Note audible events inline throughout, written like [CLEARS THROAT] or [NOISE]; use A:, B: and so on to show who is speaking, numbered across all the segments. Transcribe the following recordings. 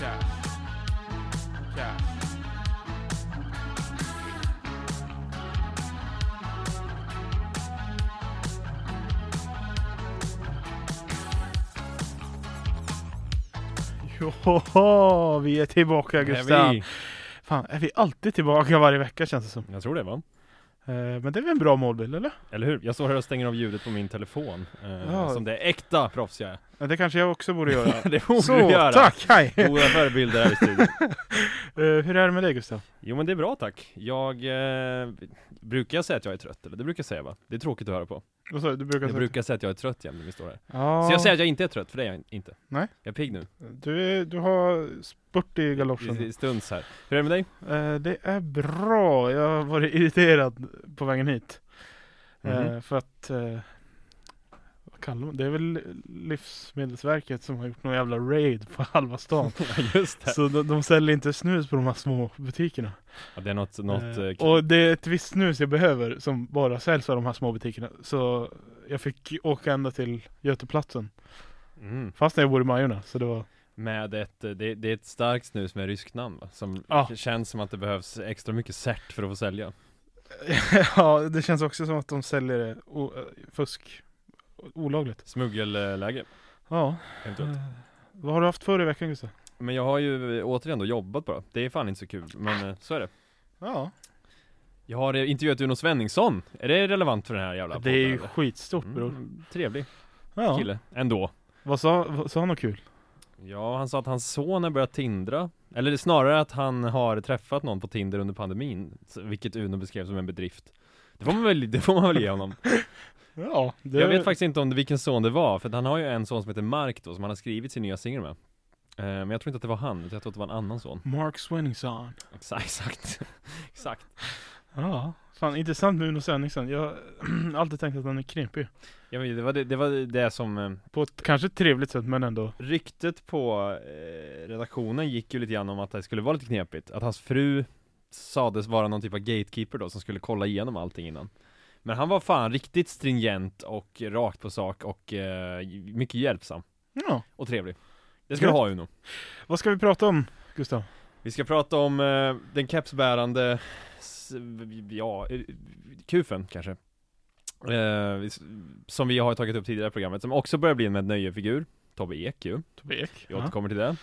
A: Tja. Tja.
B: Joho, vi är tillbaka
A: Är
B: Gustav!
A: vi?
B: Fan, är vi alltid tillbaka varje vecka känns det som.
A: Jag tror det va?
B: Eh, men det är väl en bra målbild eller?
A: Eller hur? Jag står här och stänger av ljudet på min telefon. Eh,
B: Ja.
A: Som det är äkta proffs jag är.
B: Ja, det kanske jag också borde göra.
A: [LAUGHS] Det borde
B: Så,
A: du göra. Mm.
B: tack! Hej! Eh,
A: Goda förebilder här i studion.
B: hur är det med dig Gustav?
A: [LAUGHS] Jo men det är bra tack. Jag eh, brukar jag säga att jag är trött eller? Det brukar jag säga va? Det är tråkigt att höra på.
B: Vad sa du? Du brukar
A: Jag
B: säga-
A: brukar säga att jag är trött jämt när vi står här.
B: Ja,
A: Så jag säger att jag inte är trött, för det är jag inte.
B: Nej.
A: Jag är pigg nu.
B: du, är, du har spurt i galoschen.
A: I- i Stunds här. Hur är det med dig?
B: Eh, det är bra. Jag har varit irriterad på vägen hit. Eh,
A: Mhm.
B: för att eh, vad kallar man? Det är väl Livsmedelsverket som har gjort någon jävla raid på halva stan.
A: [LAUGHS] Just det.
B: [LAUGHS] Så de, de säljer inte snus på de här små butikerna.
A: Ja, det är något, något
B: Eh,
A: eh,
B: och det är ett visst snus jag behöver som bara säljs av de här små butikerna. Så jag fick åka ända till Göteplatsen.
A: mm.
B: Fast när jag bor i Majorna. Så det var... [LAUGHS]
A: Med ett, eh, det, det är ett starkt snus med ryskt namn va? Som
B: Ja.
A: känns som att det behövs extra mycket cert för att få sälja
B: ja, det känns också som att de säljer det o- eh, fusk olagligt.
A: Smuggelläge,
B: Ja.
A: eventuellt
B: Eh, Vad har du haft förr i veckan Gustav?
A: Men jag har ju eh, återigen då jobbat bara Det är fan inte så kul, men eh, så är det
B: Ja,
A: Jag har eh, intervjuat Uno Svenningsson Är det relevant för den här jävla
B: det är ju
A: podden, eller?
B: skitstort bror.
A: mm, Trevlig
B: Ja.
A: kille, ändå
B: Vad sa, vad sa han något kul?
A: Ja, han sa att hans son har börjat tindra Eller snarare att han har träffat någon på Tinder under pandemin så- Vilket Uno beskrev som en bedrift Det får man väl, det får man väl ge honom
B: Ja, det
A: Jag vet faktiskt inte om det, vilken son det var, för att han har ju en son som heter Mark då, som han har skrivit sin nya singel med. Eh, Men jag tror inte att det var han, utan jag tror att det var en annan son.
B: Mark Swenningson.
A: [LAUGHS] Exakt, exakt. [LAUGHS] exakt.
B: Ja, fan intressant med Uno Svenningsson. Jag har [CLEARS THROAT] alltid tänkt att han är krimpig.
A: Ja, men det, var det, det var det som eh,
B: På ett kanske trevligt sätt men ändå.
A: ryktet på eh, redaktionen gick ju lite grann om att det skulle vara lite knepigt. Att hans fru sades vara någon typ av gatekeeper då, som skulle kolla igenom allting innan. Men han var fan riktigt stringent och rakt på sak och eh, mycket hjälpsam
B: Ja.
A: och trevlig. Det ska du
B: Gött.
A: ha Uno.
B: Vad ska vi prata om Gustav?
A: Vi ska prata om eh, den kepsbärande, s- ja, eh, kufen kanske. Eh, vi s- som vi har tagit upp tidigare i programmet, som också börjar bli en med nöjefigur. Tobbe Ek ju,
B: Tobbe Ek.
A: vi återkommer till det.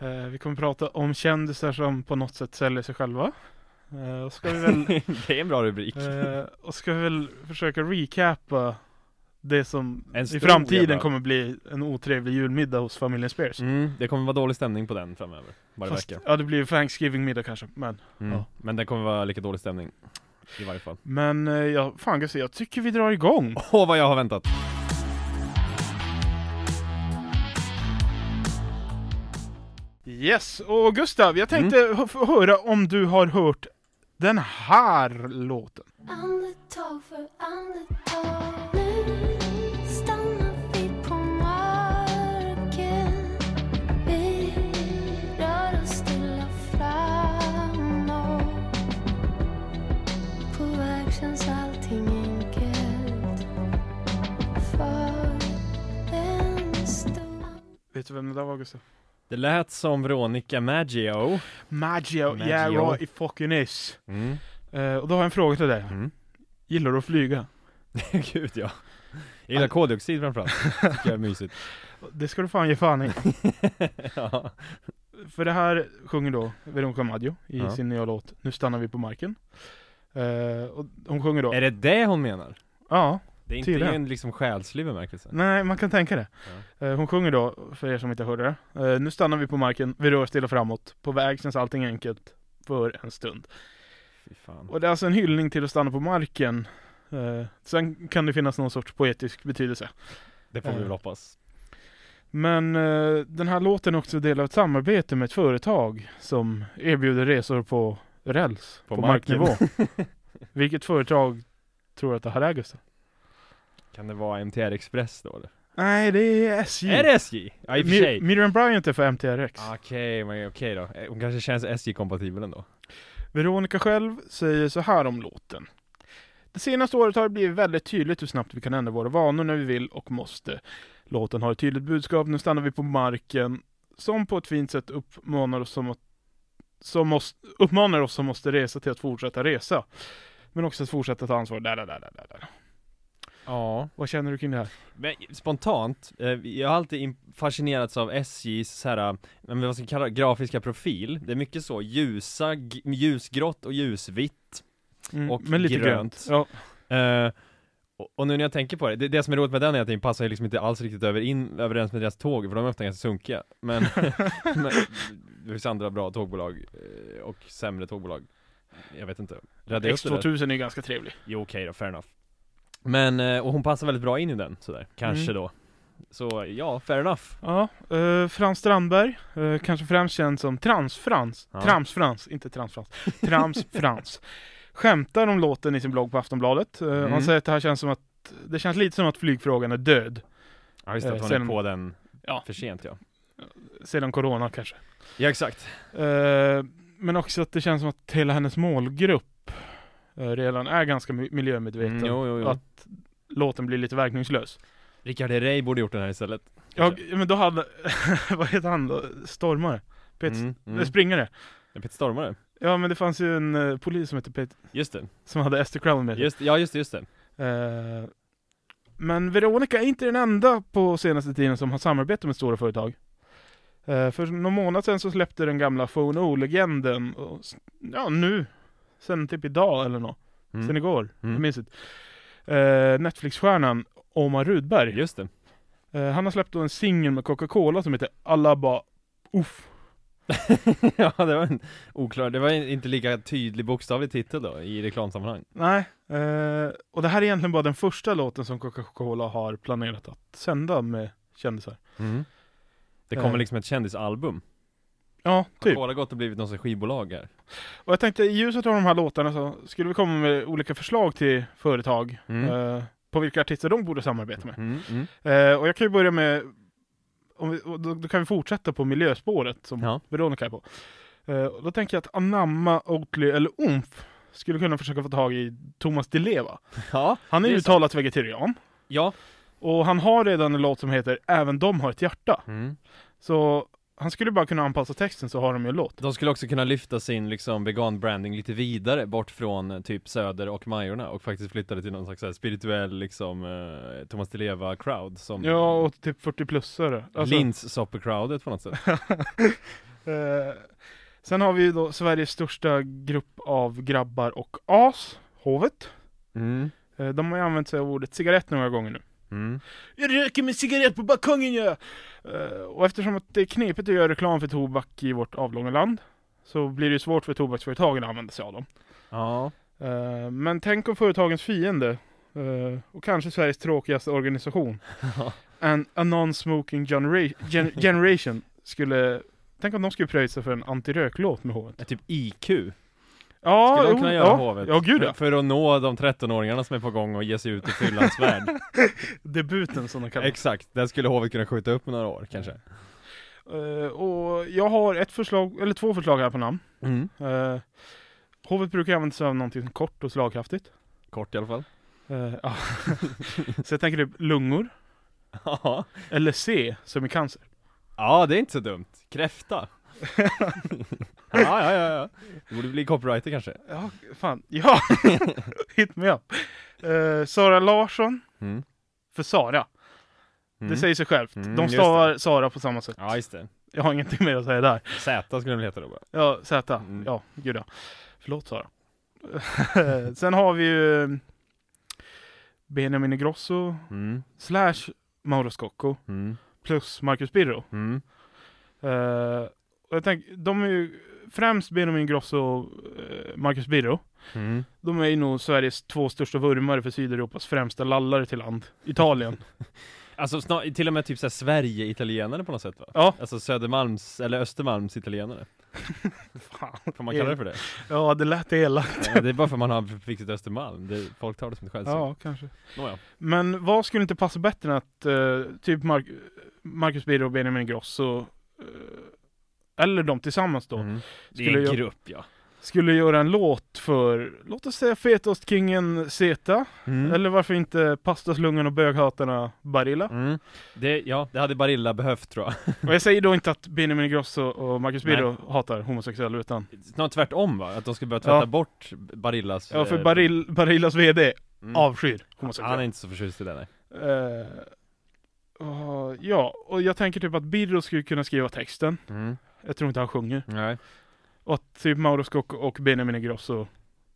B: Eh, vi kommer prata om kändisar som på något sätt säljer sig själva. Eh, och, ska vi
A: [LAUGHS]
B: väl,
A: [LAUGHS] det är en bra rubrik.
B: eh, och ska vi väl försöka recapa det som
A: En
B: i
A: stor
B: framtiden
A: jävla-
B: kommer bli en otrevlig julmiddag hos familjen Spears.
A: Mm, det kommer vara dålig stämning på den framöver, varje
B: Fast,
A: vecka.
B: ja det blir ju Thanksgiving-middag kanske, men
A: Mm.
B: ja.
A: Men det kommer vara lika dålig stämning, i varje fall.
B: Men eh, ja, fan Gustav, jag tycker vi drar igång!
A: Åh, vad jag har väntat!
B: Yes, och Gustav, jag tänkte
A: Mm.
B: hö- få höra om du har hört den här låten?
C: Andetag för andetag Nu stannar vi på marken Vi rör oss stilla framåt På väg känns allting enkelt För en stund
B: Vet du vem det där var Gustav?
A: Det lät som Veronica Maggio.
B: Maggio,
A: Maggio.
B: yeah right it fucking is!
A: Mm.
B: Eh, och då har jag en fråga till dig.
A: Mm.
B: Gillar du att flyga?
A: [LAUGHS] Gud ja. Jag gillar koldioxid
B: [LAUGHS]
A: framförallt, tycker jag är mysigt.
B: Det ska du fan ge
A: [LAUGHS]
B: fan i.
A: ja.
B: För det här sjunger då Veronica Maggio i
A: Ja.
B: sin nya låt Nu stannar vi på marken. Eh, och hon sjunger då.
A: Är det det hon menar?
B: Ja,
A: Det är inte
B: Tydligen.
A: i en liksom själslig bemärkelse.
B: nej man kan tänka det. Eh, hon sjunger då, för er som inte hörde det. Eh, nu stannar vi på marken, vi rör oss stilla framåt. På väg känns allting enkelt. För en stund.
A: Fy fan.
B: Och det är alltså en hyllning till att stanna på marken. Eh, sen kan det finnas någon sorts poetisk betydelse.
A: Det får vi väl hoppas.
B: Men eh, den här låten är också del av ett samarbete med ett företag som erbjuder resor på räls,
A: På
B: på,
A: marken.
B: marknivå.
A: [LAUGHS]
B: Vilket företag tror du att det här är Gustav?
A: Kan det vara MTR Express då eller?
B: Nej, det är SJ.
A: Är det SJ? Ja i och för
B: Mi-
A: sig
B: Miriam Bryant är för MTRX.
A: Okej, men okej då. Eh, Hon kanske känns SJ-kompatibel ändå
B: Veronica själv säger så här om låten. Det senaste året har det blivit väldigt tydligt hur snabbt vi kan ändra våra vanor när vi vill och måste. Låten har ett tydligt budskap, nu stannar vi på marken, som på ett fint sätt uppmanar oss som, att, som, måste, uppmanar oss som måste resa till att fortsätta resa. Men också att fortsätta ta ansvar. Där, där, där, där, där.
A: Ja
B: Vad känner du kring det här?
A: Men spontant, eh, jag har alltid im- fascinerats av SJs så här, eh, men vad ska vi kalla det, grafiska profil Det är mycket så, ljusa, g- ljusgrått och ljusvitt
B: Mm,
A: Och
B: men lite
A: grönt.
B: grönt. Ja.
A: Eh, och- och nu när jag tänker på det, det, det som är roligt med den är att den passar ju liksom inte alls riktigt över in, överens med deras tåg, för de är ofta ganska sunkiga
B: [LAUGHS]
A: Men, men det finns andra bra tågbolag, eh, och sämre tågbolag Jag vet inte, Rädda upp det där.
B: X2000 är ju ganska trevlig.
A: Jo okej då, fair enough Men, eh, och hon passar väldigt bra in i den sådär, kanske
B: Mm.
A: då Så ja, fair enough
B: Ja, eh, Frans Strandberg, eh, kanske främst känd som Transfrans,
A: Ja.
B: Tramsfrans, inte Transfrans, Tramsfrans. Skämtar om låten i sin blogg på Aftonbladet. Eh,
A: Mm.
B: Han säger att det här känns som att, det känns lite som att flygfrågan är död.
A: Ja just det,
B: Eh,
A: att hon är
B: sen-
A: på den
B: Ja.
A: för sent ja
B: Sedan Corona kanske.
A: Ja exakt
B: Eh, men också att det känns som att hela hennes målgrupp eh, redan är ganska mi- miljömedveten.
A: mm, Jo jo jo
B: Att- Låten blir lite verkningslös.
A: Rickard Herrey borde gjort den här istället
B: Ja, men då hade, [LAUGHS] vad heter han då? Stormare? Pet,
A: mm, mm.
B: eh, Springare?
A: Peter Stormare
B: Ja men det fanns ju en eh, polis som hette Pet,
A: Just det,
B: som hade Esther Crown med sig.
A: just, ja just det, just det
B: Eh, men Veronica är inte den enda på senaste tiden som har samarbete med stora företag. Eh, för någon månad sedan så släppte den gamla Phone O-legenden, och s- ja nu, sen typ idag eller nå,
A: Mm.
B: sen igår,
A: Mm.
B: jag minns inte. Eh, Netflix-stjärnan Omar Rudberg.
A: Just det
B: Eh, han har släppt då en singel med Coca-Cola som heter Alaba Uff.
A: [LAUGHS] Ja det var en oklar, det var en inte lika tydlig bokstavlig titel då i reklamsammanhang
B: Nej, eh, och det här är egentligen bara den första låten som Coca-Cola har planerat att sända med kändisar.
A: Mm. Det kommer
B: Eh.
A: liksom ett kändisalbum
B: Ja,
A: Har
B: typ.
A: Cola gått och blivit någon sorts skivbolag här?
B: Och jag tänkte i ljuset av de här låtarna så skulle vi komma med olika förslag till företag
A: Mm.
B: eh, på vilka artister de borde samarbeta med.
A: Mm, mm.
B: Eh, och jag kan ju börja med, om vi, och då, då kan vi fortsätta på miljöspåret som
A: Ja.
B: Veronica är på. Eh, och då tänker jag att Anamma, Oatly eller Umf skulle kunna försöka få tag i Thomas Di Leva.
A: Ja,
B: Han är
A: Det är
B: ju
A: sant.
B: uttalat vegetarian
A: ja
B: och han har redan en låt som heter Även de har ett hjärta.
A: mm.
B: Så han skulle bara kunna anpassa texten så har de ju en låt.
A: De skulle också kunna lyfta sin liksom vegan-branding lite vidare bort från eh, typ Söder och Majorna och faktiskt flytta det till någon slags så här spirituell liksom eh, Thomas Di Leva-crowd som
B: Ja, och typ 40-plussare. Alltså-
A: linssopper-crowdet på något sätt
B: Eh, sen har vi ju då Sveriges största grupp av grabbar och as, Hovet.
A: [LAUGHS] mm.
B: Eh, de har ju använt sig av ordet cigarett några gånger nu.
A: Mm.
B: Jag röker min cigarett på balkongen ja! Eh, och eftersom att det är knepigt att göra reklam för tobak i vårt avlånga land så blir det ju svårt för tobaksföretagen att använda sig av dem.
A: Ja,
B: Eh, men tänk om företagens fiende eh, och kanske Sveriges tråkigaste organisation, [LAUGHS] en a non-smoking genera- gen- generation, skulle Tänk om de skulle pröjsa för en antiröklåt med Hovet.
A: eh, typ IQ skulle
B: Ja,
A: de
B: Ah, jo,
A: kunna göra
B: ja,
A: hovet
B: Ja, gud ja.
A: För- För att nå de 13-åringarna som är på gång och ge sig ut i fyllans
B: [LAUGHS]
A: värld
B: Debuten som de kallar det.
A: Exakt, där skulle hovet kunna skjuta upp med några år kanske
B: Eh, och jag har ett förslag, eller två förslag här på namn.
A: mm.
B: Uh, hovet brukar använda sig av någonting kort och slagkraftigt.
A: Kort i alla
B: [LAUGHS]
A: fall
B: Eh, ja. så jag tänker typ lungor,
A: Ja,
B: eller C som i cancer.
A: ja det är inte så dumt, kräfta
B: [LAUGHS]
A: ja, ja, ja, ja, det borde bli copywriter kanske
B: Ja, fan. Ja! [LAUGHS] Hit me up. Eh, Sara Larsson,
A: Mm.
B: för Sara.
A: Mm.
B: Det säger sig självt.
A: Mm,
B: De
A: just
B: stavar Sara på samma sätt.
A: Ja just det,
B: Jag har ingenting mer att säga där.
A: Z skulle den heta då bara
B: Ja, Z.
A: Mm.
B: Ja, gud ja. Förlåt Sara. [LAUGHS] Sen har vi ju mm, Benjamin Ingrosso
A: mm.
B: slash Mauro Scocco
A: Mm.
B: plus Marcus Birro.
A: Mm.
B: Eh, och jag tänker, de är ju främst Benjamin Ingrosso och eh, Marcus Birro.
A: Mm.
B: De är ju nog Sveriges två största vurmare för Sydeuropas främsta lallare till land, Italien.
A: Alltså snar, till och med typ såhär Sverige-italienare på något sätt va?
B: Ja.
A: Alltså Södermalms, eller Östermalms italienare
B: Fan.
A: Får man kalla det för det?
B: Ja, det lät elakt.
A: [LAUGHS] Ja, det är bara för att man har fixat Östermalm, det, folk tar det som ett skällsord.
B: Ja, kanske.
A: Nåja.
B: Men vad skulle inte passa bättre än att eh, typ Mar- Marcus Birro och Benjamin Grosso eh, eller de tillsammans då
A: Mm. Det
B: Skulle
A: är en
B: jag-
A: grupp ja.
B: skulle göra en låt för, låt oss säga Fetostkingen Zeta
A: Mm.
B: eller varför inte Pastaslungan och Böghatarna Barilla.
A: Mm. Det, ja, det hade Barilla behövt tror jag. [LAUGHS]
B: Och jag säger då inte att Benjamin Grosso och Marcus
A: Mm. Nej.
B: Birro hatar homosexuella utan
A: Snarare tvärtom va? Att de ska börja tvätta
B: Ja.
A: bort Barillas...
B: Ja, för
A: eh,
B: Baril- Barillas VD
A: mm.
B: avskyr
A: Han är
B: homosexuella.
A: inte så förtjust i det nej.
B: Eh, och- ja, och jag tänker typ att Birro skulle kunna skriva texten.
A: Mm.
B: Jag tror inte han sjunger.
A: Nej.
B: Och att typ Mauro Scocco och Benjamin Grosso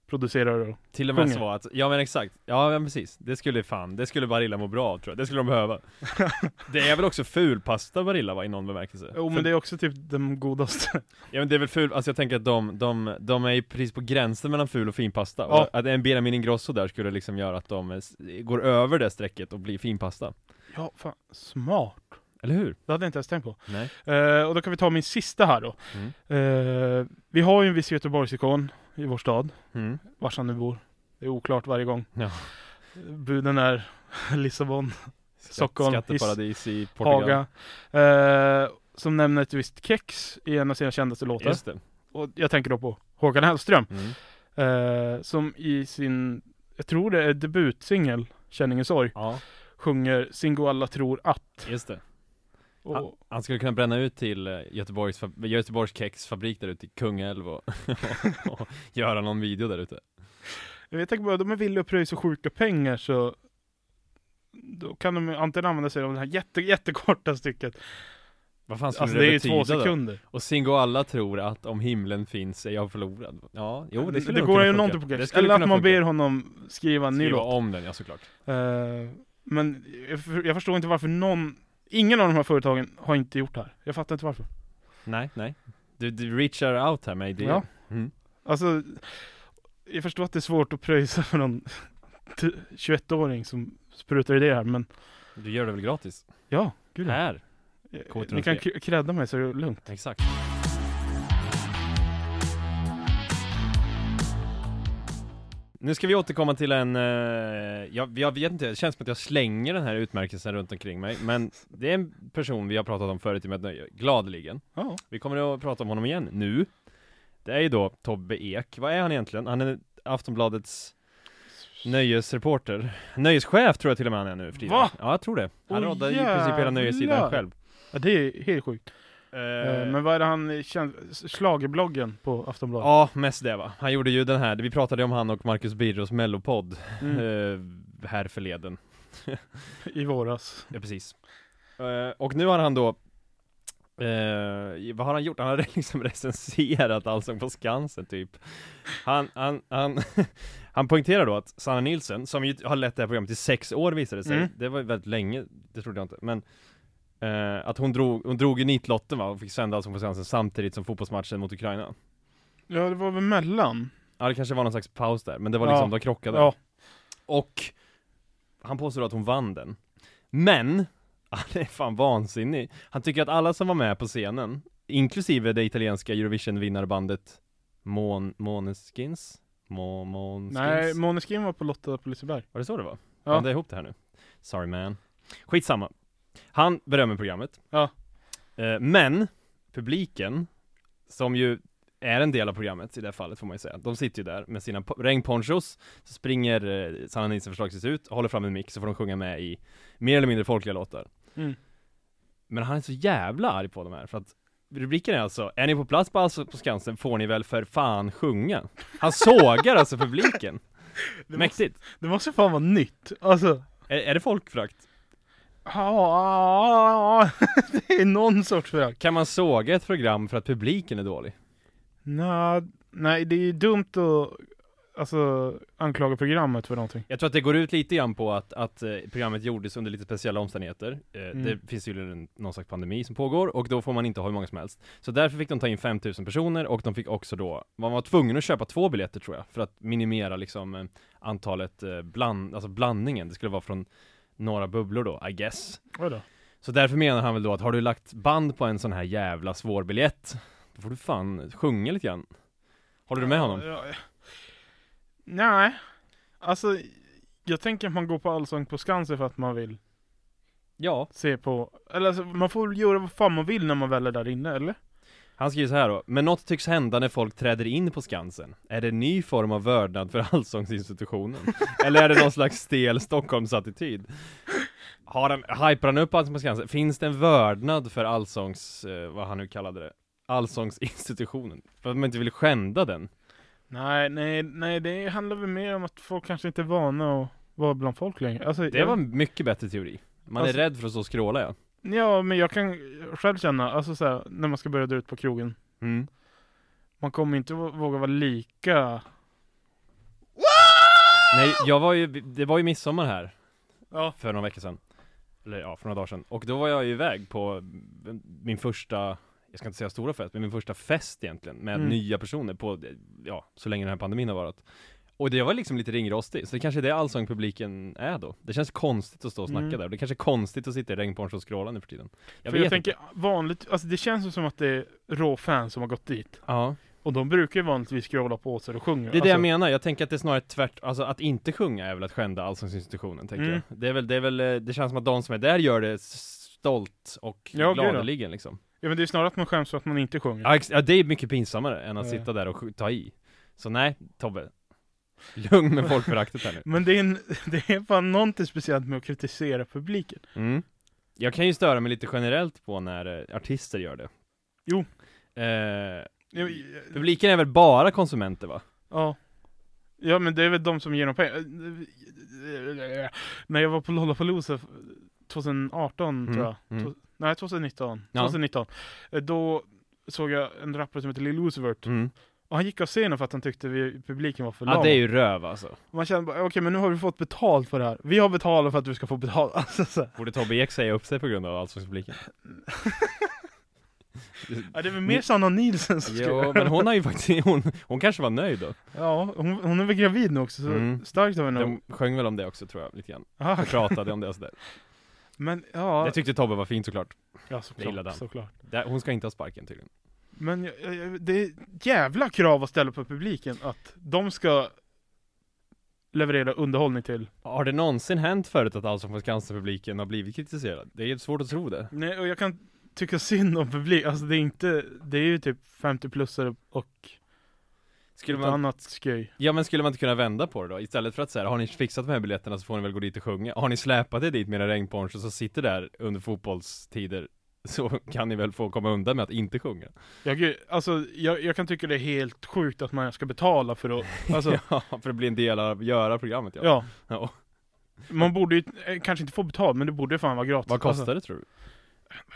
B: producerar och
A: Till och med
B: Sjunger.
A: så att, ja men exakt, ja men precis, det skulle fan, det skulle Barilla må bra av tror jag, det skulle de
B: [LAUGHS]
A: behöva Det är väl också fulpasta Barilla va, i någon bemärkelse?
B: Jo
A: För-
B: men det är också typ de godaste.
A: [LAUGHS] Ja men det är väl ful, alltså jag tänker att de, de, de är ju precis på gränsen mellan ful och finpasta
B: Ja.
A: och Att en Benjamin Ingrosso där skulle liksom göra att de eh, s- går över det strecket och blir finpasta
B: Ja, fan. Smart.
A: Eller hur?
B: Det hade jag inte ens tänkt på.
A: Nej
B: Eh, och då kan vi ta min sista här då.
A: Mm.
B: Eh, vi har ju en viss Göteborgsikon i vår stad,
A: mm.
B: vars han nu bor. Det är oklart varje gång.
A: Ja.
B: Buden är [LAUGHS] Lissabon,
A: Skatt,
B: Stockholm,
A: Skatteparadis i Portugal
B: Haga. Eh, som nämner ett visst kex i en av sina kändaste låtar.
A: Just det
B: Och jag tänker då på Håkan Hellström.
A: mm.
B: Eh, som i sin, jag tror det är debutsingel, Känningens sorg,
A: Ja,
B: sjunger Singo alla tror att.
A: just det
B: Och,
A: Ja. Han skulle kunna bränna ut till eh, Göteborgs, fab- Göteborgs kexfabrik där ute i Kungälv och, [LAUGHS] och, och göra någon video där ute
B: Jag tänker bara, de är villiga att pröjsa så sjuka pengar så då kan de ju antingen använda sig av det här jätte, jättekorta stycket.
A: Vad fan skulle
B: Alltså
A: det,
B: det är ju
A: betyda
B: två
A: då?
B: sekunder.
A: Och Singo alla tror att om himlen finns är jag förlorad Ja, jo det
B: det,
A: skulle nog
B: går
A: kunna
B: ju
A: funka.
B: någonting på
A: Det
B: kex.
A: skulle
B: Eller att
A: kunna
B: man
A: funka.
B: ber honom skriva en ny
A: Skriva
B: låt.
A: om den, ja såklart
B: Eh, men jag, för- jag förstår inte varför någon, ingen av de här företagen har inte gjort det här. Jag fattar inte varför.
A: Nej, nej Du, du reachar out här med idéer
B: Ja.
A: Mm.
B: Alltså, jag förstår att det är svårt att pröjsa för någon t- 21-åring som sprutar i det här, men
A: Du gör det väl gratis?
B: ja, gud ja.
A: Här,
B: Ni kan k- credda mig så är Äh, det lugnt.
A: exakt Nu ska vi återkomma till en, eh, jag, jag vet inte, det känns som att jag slänger den här utmärkelsen runt omkring mig Men det är en person vi har pratat om förut i Med Nöje, gladeligen
B: Ja.
A: Vi kommer att prata om honom igen nu Det är ju då Tobbe Ek, vad är han egentligen? Han är Aftonbladets nöjesreporter Nöjeschef tror jag till och med han är nu för tiden
B: Va?
A: Ja, jag tror det Han
B: Åh,
A: roddar i princip hela
B: jävlar.
A: nöjessidan själv
B: ja, det är helt sjukt. Eh,
A: Eh,
B: Men vad är det han känner, schlagerbloggen på Aftonbladet?
A: Ja, mest det va. Han gjorde ju den här, vi pratade ju om han och Marcus Birros mellopodd
B: Mm,
A: eh, här förleden.
B: I våras.
A: Ja, precis. Eh, och nu har han då, eh, vad har han gjort? Han har [LAUGHS] liksom recenserat Allsång på Skansen typ. Han, han, han, [LAUGHS] han poängterar då att Sanna Nilsson, som ju har lett det här programmet i sex år visade det sig,
B: Mm.
A: det var ju väldigt länge, det trodde jag inte, men eh, att hon drog, hon drog ju nitlotten va, och fick sända Allsång på Skansen samtidigt som fotbollsmatchen mot Ukraina.
B: Ja, det var väl mellan?
A: Ja det kanske var någon slags paus där, men det var
B: Ja.
A: liksom, de krockade
B: Ja.
A: Och han påstår att hon vann den Men, [LAUGHS] han är fan vansinnig Han tycker att alla som var med på scenen Inklusive det italienska Eurovision-vinnarbandet Mon, Måneskins? Må, Måneskins?
B: Nej, Måneskin var på Lotta på Liseberg.
A: Var det så det var?
B: Ja.
A: Blandade jag ihop det här nu? Sorry man Skitsamma Han berömmer programmet
B: Ja.
A: eh, Men publiken Som ju är en del av programmet i det här fallet får man ju säga De sitter ju där med sina po- regnponchos Så springer eh, Sanna Nilsson förslagsvis ut Håller fram en mick så får de sjunga med i Mer eller mindre folkliga låtar
B: Mm.
A: Men han är så jävla arg på de här för att Rubriken är alltså, är ni på plats på, alltså, på Skansen får ni väl för fan sjunga? Han sågar alltså publiken!
B: [LAUGHS] Det, måste,
A: Mäktigt!
B: det måste fan vara nytt. Alltså,
A: Är, är det folkfrakt?
B: ja, [LAUGHS] det är någon sorts förakt.
A: Kan man såga ett program för att publiken är dålig?
B: Nej, nej, det är ju dumt att alltså, anklaga programmet för någonting.
A: Jag tror att det går ut lite grann på att, att eh, programmet gjordes under lite speciella omständigheter. Eh, Det
B: Mm.
A: finns ju en- någon slags pandemi som pågår och då får man inte ha hur många som helst. Så därför fick de ta in 5000 personer och de fick också då, man var tvungen att köpa två biljetter tror jag, för att minimera liksom eh, antalet eh, bland, alltså blandningen. Det skulle vara från några bubblor då, I guess.
B: Vadå?
A: Så därför menar han väl då att har du lagt band på en sån här jävla svår biljett Då får du fan sjunga lite grann. Håller du med honom?
B: Ja, ja. Nej. Alltså, jag tänker att man går på Allsång på Skansen för att man vill
A: Ja.
B: se på... Eller alltså, man får väl göra vad fan man vill när man väl är där inne, eller?
A: Han skriver så här då. Men något tycks hända när folk träder in på Skansen. Är det en ny form av vördnad för [LAUGHS] Allsångsinstitutionen? Eller är det någon slags stel Stockholmsattityd? Har han, hypar han upp Allsång på Skansen? Finns det en vördnad för Allsångs, eh, vad han nu kallade det? Allsångsinstitutionen? För att man inte vill skända den?
B: Nej, nej, nej, det handlar väl mer om att folk kanske inte är vana att vara bland folk längre. Alltså,
A: Det
B: jag-
A: var en mycket bättre teori. Man
B: Alltså-
A: är rädd för att stå och skråla ja.
B: Ja, men jag kan själv känna, alltså så här, när man ska börja dra ut på krogen.
A: Mm.
B: Man kommer inte vå- våga vara lika...
A: Nej, jag var ju, det var ju midsommar här.
B: Ja.
A: för några veckor sedan Eller ja, för några dagar sedan Och då var jag ju iväg på mm, min första Jag ska inte säga stora fest, men min första fest egentligen Med
B: Mm.
A: nya personer på, eh, ja, så länge den här pandemin har varit Och det jag var liksom lite ringrostig, så det kanske är det allsångpubliken är då Det känns konstigt att stå och snacka
B: Mm.
A: där, och det kanske är konstigt att sitta i regnponcho och skråla nu för tiden Jag
B: för
A: vet
B: jag tänker,
A: inte
B: vanligt, alltså det känns ju som att det är råfans som har gått dit.
A: Ja,
B: Och de brukar ju vanligtvis skråla på sig och sjunga.
A: det är
B: alltså,
A: det jag menar, jag tänker att det är snarare tvärt, alltså att inte sjunga är väl att skända allsångsinstitutionen tänker
B: Mm.
A: jag Det är väl, det är väl, eh, det känns som att de som är där gör det stolt och
B: Ja, gud, ja.
A: gladeligen liksom
B: Ja, men det är snarare att man skäms för att man inte sjunger.
A: Ja, ex- ja det är mycket pinsammare än att
B: Ja.
A: sitta där och sk- ta i Så nej, Tobbe Lugn
B: [LAUGHS]
A: med folkföraktet här nu
B: Men det är, en, [LAUGHS] det är fan någonting speciellt med att kritisera publiken.
A: mm. Jag kan ju störa mig lite generellt på när eh, artister gör det
B: Jo.
A: eh,
B: Ja, men-
A: Publiken är väl bara konsumenter va?
B: Ja. Ja men det är väl de som ger dem pengar. När jag var på Lollapalooza 2018
A: Mm,
B: tror jag.
A: mm.
B: To- Nej 2019.
A: Ja.
B: 2019. Eh, Då såg jag en rappare som heter Lil Usivert.
A: Mm.
B: Och han gick av scenen för att han tyckte vi, publiken var för lam.
A: Ja det är ju röv alltså
B: Man kände bara, okej men nu har vi fått betalt för det här. Vi har betalat för att du ska få betalt. [LAUGHS] Alltså, så här.
A: Borde Tobbe Ek säga upp sig på grund av allsångspubliken?
B: ja, det är väl mer Sanna Nielsen som ska
A: Jo, men hon har ju faktiskt, hon, hon kanske var nöjd då
B: Ja, hon, hon är väl gravid nu också, så
A: Mm.
B: starkt av henne.
A: De sjöng väl om det också tror jag, lite grann
B: Aha,
A: Och pratade om det och sådär
B: Men ja,
A: Det tyckte Tobbe var fint såklart
B: ja
A: jag gillade
B: såklart,
A: han.
B: såklart.
A: Där- Hon ska inte ha sparken tydligen
B: Men jag- jag- jag- det är ett jävla krav att ställa på publiken att de ska leverera underhållning till.
A: Har det någonsin hänt förut att Allsång på Skansen-publiken har blivit kritiserad? Det är ju svårt att tro det.
B: Nej, och jag kan tycka synd om publik, alltså det är inte, det är ju typ 50-plussare och
A: Skulle
B: ett
A: man,
B: annat skoj.
A: ja men skulle man inte kunna vända på det då? Istället för att säga har ni fixat de här biljetterna så får ni väl gå dit och sjunga. Har ni släpat er dit med era regnponchos så sitter där under fotbollstider så kan ni väl få komma undan med att inte sjunga.
B: Jag, gud, alltså, jag, jag kan tycka det är helt sjukt att man ska betala
A: [LAUGHS]
B: för att, alltså,
A: ja, för att bli en del av, göra programmet ja.
B: ja.
A: Ja.
B: Man borde ju, eh, kanske inte få betalt, men det borde fan vara gratis.
A: Vad kostar
B: Alltså,
A: det tror du?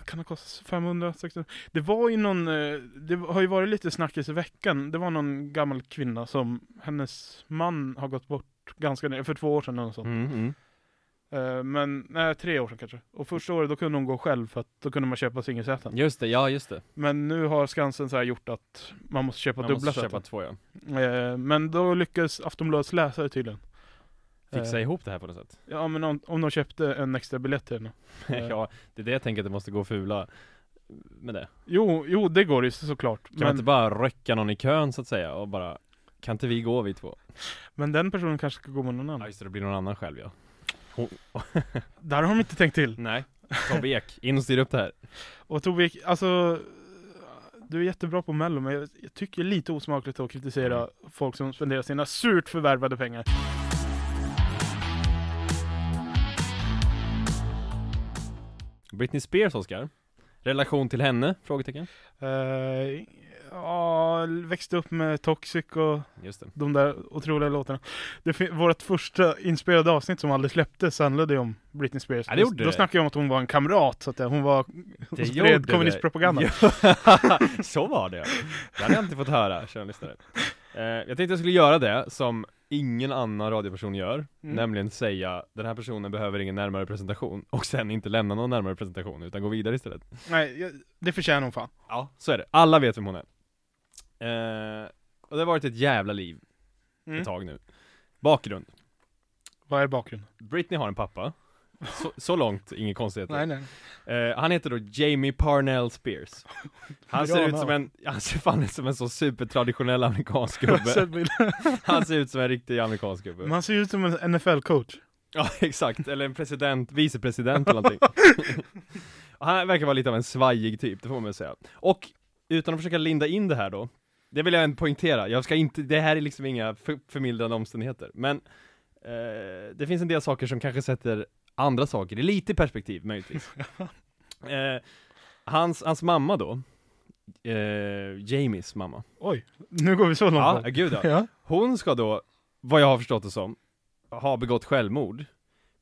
B: kan det kosta 500, 600? Det var ju någon, eh, det har ju varit lite snackis i veckan. Det var någon gammal kvinna som, hennes man har gått bort ganska nyligen, för två år sedan eller något sånt.
A: Mm, mm.
B: Eh, Men, nej tre år sedan kanske. Och första året då kunde hon gå själv för att då kunde man köpa singelsäten.
A: Just det, ja just det.
B: Men nu har Skansen så här gjort att man måste köpa
A: Man
B: dubbla
A: måste
B: säten.
A: köpa två ja.
B: Eh, Men då lyckades Aftonbladets läsare tydligen.
A: Fixa
B: Eh,
A: ihop det här på något sätt. [LAUGHS]
B: Ja men om, om de köpte en extra biljett till henne. eh.
A: ja, det är det jag tänker att det måste gå att fula med det.
B: Jo, jo det går ju så- såklart.
A: Kan man
B: Men,
A: inte bara röcka någon i kön så att säga och bara Kan inte vi gå vi två?
B: men den personen kanske ska gå med någon annan.
A: Ja just det, det blir någon annan själv ja
B: Där har de inte tänkt till.
A: Nej Tobbe Ek, in och styr upp det här
B: Och Tobik, alltså du är jättebra på mello men jag, jag tycker det är lite osmakligt att kritisera
A: Mm.
B: folk som spenderar sina surt förvärvade pengar.
A: Britney Spears Oscar Relation till henne? Frågetecken
B: Eh, ja, växte upp med Toxic och
A: Just det
B: de där otroliga låtarna. Det fin- vårt första inspelade avsnitt som aldrig släpptes handlade ju om Britney Spears.
A: Ja, det gjorde
B: då,
A: det.
B: då snackade jag om att hon var en kamrat, så att eh, hon var
A: Det [LAUGHS]
B: och
A: gjorde
B: spred
A: det. [LAUGHS]
B: kommunistpropaganda.
A: Ja, Så var det ja. Det hade jag inte fått höra, kära lyssnare eh, Jag tänkte jag skulle göra det som ingen annan radioperson gör
B: Mm.
A: Nämligen säga Den här personen behöver ingen närmare presentation Och sen inte lämna någon närmare presentation utan gå vidare istället
B: Nej, jag, det förtjänar hon fan.
A: Ja, så är det. Alla vet vem hon är. Eh, och det har varit ett jävla liv
B: Mm.
A: ett tag nu. Bakgrund.
B: Vad är bakgrunden?
A: Britney har en pappa Så, så långt, inget konstigt.
B: Nej, nej.
A: Eh, han heter då Jamie Parnell Spears. Han
B: Bra
A: ser ut
B: namn.
A: som en, han ser fan ut som en så supertraditionell
B: [LAUGHS]
A: amerikansk
B: Jag
A: [LAUGHS]
B: har
A: gubbe.
B: sett bilder.
A: Han ser ut som en riktig amerikansk gubbe.
B: Man ser ut som en NFL-coach.
A: Ja, [LAUGHS] exakt. Eller en president, vicepresident eller någonting. han verkar vara lite av en svajig typ, det får man väl säga. Och utan att försöka linda in det här då, det vill jag ändå poängtera, jag ska inte, det här är liksom inga för, förmildrande omständigheter, men eh, det finns en del saker som kanske sätter andra saker i lite perspektiv möjligtvis. eh, hans, hans mamma då, eh, Jamies mamma,
B: Oj, nu går vi så
A: ja,
B: långt. bak.
A: gud ja.
B: ja.
A: Hon ska då, vad jag har förstått det som, ha begått självmord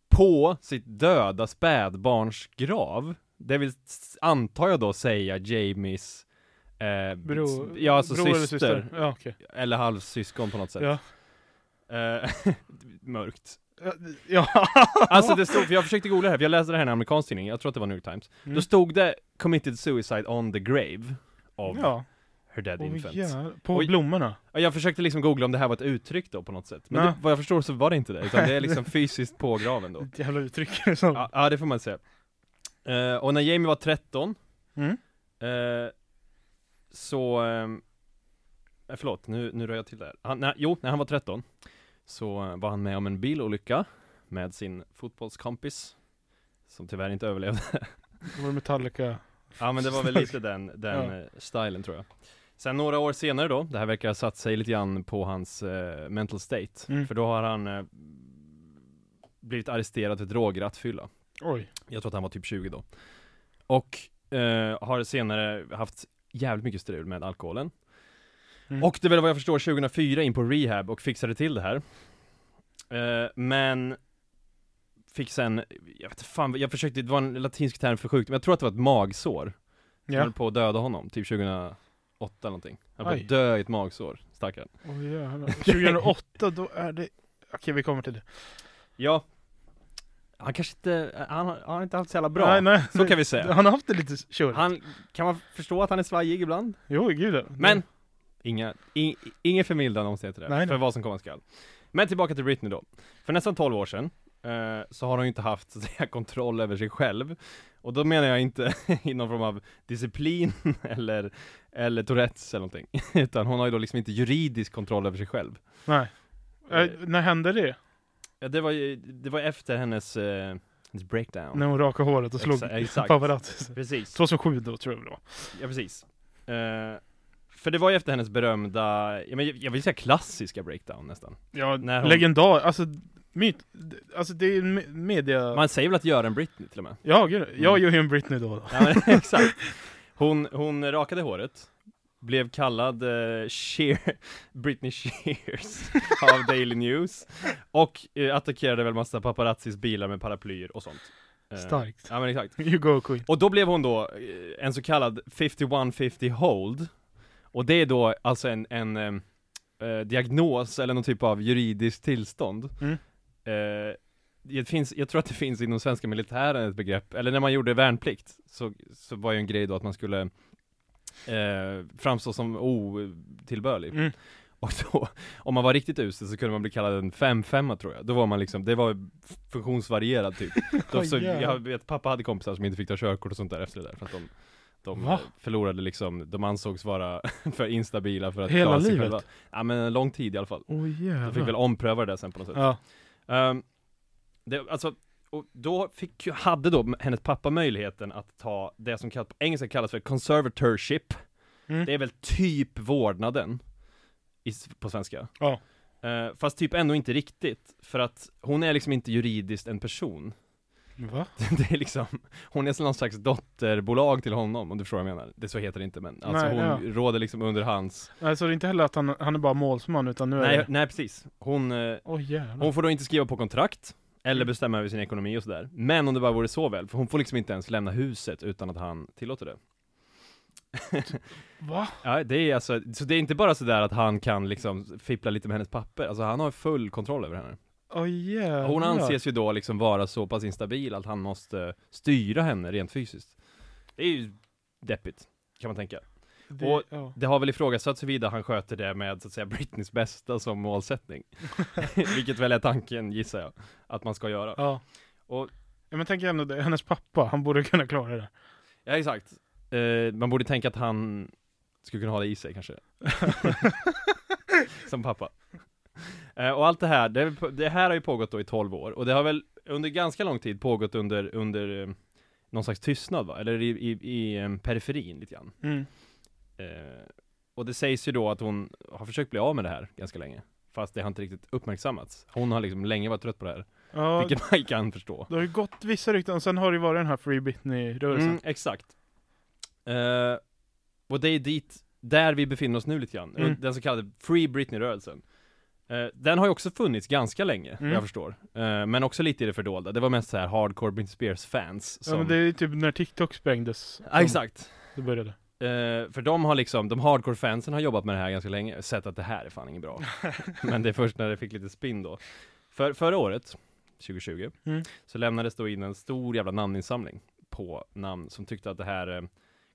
A: på sitt döda spädbarns grav. Det vill, s- antar jag då, säga Jamies eh, s-
B: Bror,
A: ja, alltså
B: bror
A: syster,
B: eller syster. Ja, okej.
A: eller halvsyskon på något sätt.
B: Ja.
A: Eh, [LAUGHS] mörkt.
B: Ja.
A: Alltså det stod, för jag försökte googla det här, för jag läste det här i en amerikansk tidning, jag tror att det var New York Times. Då
B: Mm.
A: stod det 'Committed Suicide on the Grave' of
B: [LAUGHS] ja.
A: her dead infant.
B: Oj, jävlar. På
A: Oj.
B: blommorna.
A: Ja, Jag försökte liksom googla om det här var ett uttryck då på något sätt, men
B: Nej.
A: det, vad jag förstår så var det inte det, utan det är liksom fysiskt på graven då.
B: Ett jävla uttryck. [LAUGHS] Liksom.
A: Ja, ja det får man säga. Eh, och när Jamie var 13,
B: Mm.
A: eh, så, ehm, eh, förlåt, nu, nu rör jag till det här. Han, nej, jo, när han var 13, så eh, var han med om en bilolycka med sin fotbollskompis, som tyvärr inte överlevde.
B: Det var Metallica.
A: Ja men det var väl lite den, den
B: Ja.
A: eh, stilen tror jag. Sen några år senare då, det här verkar ha satt sig lite grann på hans eh, mental state.
B: Mm.
A: För då har han eh, blivit arresterad för drograttfylla.
B: Oj.
A: Jag tror att han var typ 20 då. Och eh, har senare haft jävligt mycket strul med alkoholen.
B: Mm.
A: Och det är väl vad jag förstår 2004 in på rehab och fixade till det här. Eh, men fick sen, jag vet inte fan, jag försökte, det var en latinsk term för sjukdom, jag tror att det var ett magsår. Ja.
B: Ja.
A: höll på att döda honom, typ 2008 någonting. Han höll på
B: Aj.
A: att dö i ett magsår, stackaren.
B: Oj, jävlar.
A: [LAUGHS]
B: 2008, då är det... Okej, vi kommer till det.
A: Ja. Han kanske inte, han har- han har inte haft så jävla bra.
B: Nej, nej.
A: Så kan vi säga.
B: Han har haft det lite kör.
A: Han, kan man förstå att han är svajig ibland?
B: Jo, gud ja.
A: Men, Mm. inga, in, ingen förmildrande omständigheter där,
B: Nej, nej.
A: för vad som komma skall. Men tillbaka till Britney då. För nästan 12 år sedan, eh, så har hon ju inte haft så att säga, [LAUGHS] kontroll över sig själv. Och då menar jag inte [LAUGHS] i någon form av disciplin [LAUGHS] eller, eller Tourettes eller någonting. [LAUGHS] Utan hon har ju då liksom inte juridisk kontroll över sig själv.
B: Nej. Eh, när hände det?
A: Ja, det var ju, det var efter hennes, eh, hennes breakdown.
B: När hon rakade håret och slog
A: Exa- exakt.
B: paparazzi.
A: Precis.
B: 2007 då, tror jag det var.
A: Ja, precis. Eh, för det var ju efter hennes berömda, ja, men jag, jag vill säga klassiska breakdown nästan.
B: Ja,
A: När hon-
B: legendar. Alltså, myt. Alltså, det är ju me- media...
A: Man säger väl att göra en Britney till och med? [LAUGHS]
B: Ja, gud. Jag
A: Mm.
B: gör ju en Britney då. [LAUGHS] då.
A: Ja, men, exakt. Hon, hon rakade håret, blev kallad eh, Sheer, [LAUGHS] Britney Shears [LAUGHS] av Daily News och eh, attackerade väl massa paparazzis bilar med paraplyer och sånt. Eh,
B: Starkt.
A: Ja men exakt.
B: You go Queen.
A: Och då blev hon då eh, en så kallad 5150 hold Och det är då alltså en, en ehm, eh, diagnos eller någon typ av juridiskt tillstånd
B: Mm.
A: eh, det finns, Jag tror att det finns inom svenska militären ett begrepp, eller när man gjorde värnplikt så, så var ju en grej då att man skulle eh, framstå som otillbörlig
B: Mm.
A: och då, om man var riktigt usel så kunde man bli kallad en 5-5 tror jag. Då var man liksom, det var funktionsvarierad typ. Då, så,
B: [LAUGHS] Oj, jävlar.
A: jag vet, pappa hade kompisar som inte fick ta körkort och sånt där efter det där för att de, de
B: Va?
A: eh, förlorade liksom, de ansågs vara [LAUGHS] för instabila för att
B: Hela
A: klara sig
B: livet?
A: själva. Ja men en lång tid i alla fall.
B: Åh oh,
A: De fick väl
B: jävlar.
A: ompröva det där sen på något sätt.
B: Ja.
A: Ehm, det, alltså, och då fick, ju- hade då hennes pappa möjligheten att ta det som kallas, på engelska kallas för conservatorship.
B: Mm.
A: Det är väl typ vårdnaden i, s- på svenska.
B: Ja.
A: Eh, fast typ ändå inte riktigt, för att hon är liksom inte juridiskt en person. [LAUGHS]
B: Va?
A: Det är liksom, hon är någon slags dotterbolag till honom, om du förstår vad jag menar. Det så heter det inte, men alltså
B: Nej,
A: hon råder liksom under hans...
B: Nej, så det är inte heller att han, han är bara målsman, utan nu är
A: Nej,
B: det...
A: nej precis. Hon, eh,
B: Åh jävlar.
A: Hon får då inte skriva på kontrakt, eller bestämma över sin ekonomi och sådär. Men om det bara vore så väl, för hon får liksom inte ens lämna huset utan att han tillåter det.
B: Va?
A: Ja, det är alltså, så det är inte bara sådär att han kan liksom fippla lite med hennes papper, alltså han har full kontroll över henne.
B: Åh jävlar.
A: Hon anses ju då liksom vara så pass instabil att han måste styra henne rent fysiskt. Det är ju deppigt, kan man tänka.
B: Det,
A: och-
B: ja.
A: Det har väl ifrågasatts huruvida han sköter det med så att säga Britneys bästa som [LAUGHS] målsättning. Vilket väl är tanken, gissar jag, att man ska göra.
B: ja. Ja, men tänk ändå det, hennes pappa, han borde kunna klara det.
A: Ja exakt eh, Man borde tänka att han skulle kunna ha det i sig [LAUGHS] kanske Som pappa eh, Och allt det här, det, det här har ju pågått då i 12 år Och det har väl under ganska lång tid pågått under, under eh, någon slags tystnad va? Eller i, i, i eh, periferin lite grann
B: Mm.
A: eh, Och det sägs ju då att hon har försökt bli av med det här ganska länge Fast det har inte riktigt uppmärksammats Hon har liksom länge varit trött på det här
B: Ja,
A: Vilket man kan förstå
B: det har ju gått vissa rykten, och sen har det ju varit den här Free Britney-rörelsen.
A: Mm, exakt. Eh, och det är dit, där vi befinner oss nu lite grann.
B: Mm.
A: Den så kallade Free Britney-rörelsen. Eh, den har ju också funnits ganska länge, vad
B: Mm.
A: jag förstår. Eh, men också lite i det fördolda. Det var mest så här hardcore Britney Spears-fans som...
B: Ja, men det är ju typ när TikTok sprängdes.
A: Ja, exakt.
B: Det började.
A: Eh, för de har liksom, de hardcore-fansen har jobbat med det här ganska länge, sett att det här är fan inget
B: [LAUGHS]
A: bra. men det är först när det fick lite spinn då. För, förra året, 2020,
B: Mm.
A: så lämnades då in en stor jävla namninsamling på namn som tyckte att det här eh,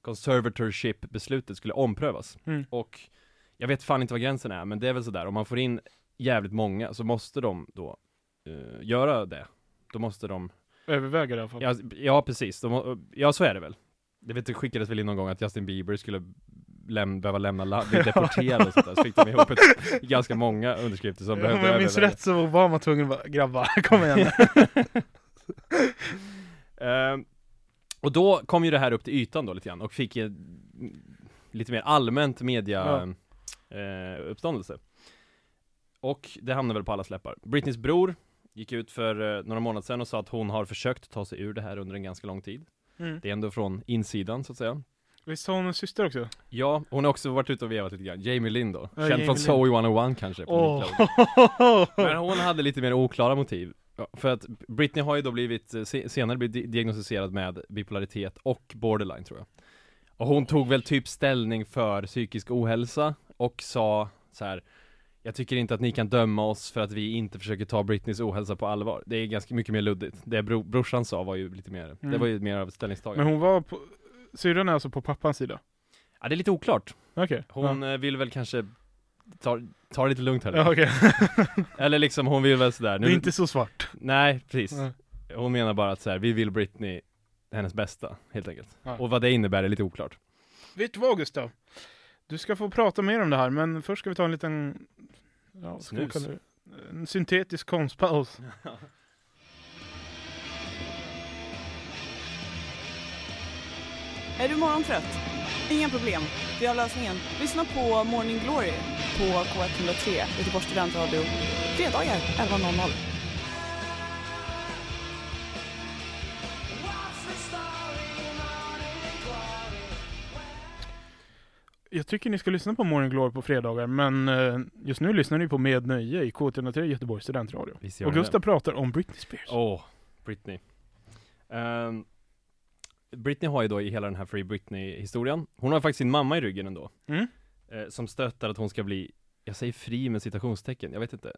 A: conservatorship-beslutet skulle omprövas.
B: Mm.
A: Och jag vet fan inte vad gränsen är, men det är väl sådär, om man får in jävligt många så måste de då eh, göra det. Då måste de
B: Överväger i alla fall.
A: Ja, ja precis, de, ja så är det väl. Det, vet, det skickades väl in någon gång att Justin Bieber skulle läm, behöva lämna landet,
B: [LAUGHS]
A: bli deporterad och sånt där. Så fick de ihop ett, ganska många underskrifter som behövde Mm.
B: Om jag minns
A: överväga.
B: rätt så var man tvungen att bara, grabbar, [LAUGHS] kom igen.
A: Ehm, och då kom ju det här upp till ytan då lite grann och fick eh, m- lite mer allmänt media eh, uppståndelse. Och det hamnade väl på allas läppar. Britneys bror gick ut för eh, några månader sedan och sa att hon har försökt ta sig ur det här under en ganska lång tid.
B: Mm.
A: Det är ändå från insidan så att säga.
B: Visst har hon en syster också?
A: Ja, hon har också varit ute och vevat lite grann, Jamie Lynn då,
B: Ja,
A: känd
B: Jamie
A: från
B: Lynn.
A: Zoe 101 kanske på
B: Åh.
A: Nickelodeon. Men hon hade lite mer oklara motiv Ja, För att Britney har ju då blivit, eh, se- senare blivit di- diagnostiserad med bipolaritet och borderline tror jag Och hon tog väl typ ställning för psykisk ohälsa och sa så här. Jag tycker inte att ni kan döma oss för att vi inte försöker ta Britneys ohälsa på allvar Det är ganska mycket mer luddigt Det bro, brorsan sa var ju lite mer, det
B: Mm.
A: var ju mer av ett ställningstagande
B: Men hon var på, syrran är alltså på pappans sida?
A: Ja det är lite oklart
B: Okej.
A: Hon eh, vill väl kanske ta, ta det lite lugnt här
B: Ja, okej.
A: Eller liksom hon vill väl sådär
B: Det är inte så svart.
A: Nej precis
B: Ja.
A: Hon menar bara att så här, vi vill Britney hennes bästa helt enkelt
B: Ja.
A: Och vad det innebär är lite oklart
B: Vet du vad Gustav? Du ska få prata mer om det här, men först ska vi ta en liten... Ja, vad ska man
A: Snus.
B: kalla det? En syntetisk konstpaus.
D: Är du morgontrött? Inga problem, vi har lösningen. Lyssna på Morning Glory på K103, Göteborgs studentradio. Fredagar 11.00.
B: Jag tycker ni ska lyssna på Morning Glory på fredagar, men eh, just nu lyssnar ni på Med Nöje i K103 Göteborgs studentradio.
A: Visst gör
B: Och
A: hon
B: Gustav pratar om Britney Spears.
A: det? Åh, Britney Ehm, Britney har ju då i hela den här Free Britney historien Hon har faktiskt sin mamma i ryggen ändå
B: Mm.
A: eh, Som stöttar att hon ska bli Jag säger fri med citationstecken, jag vet inte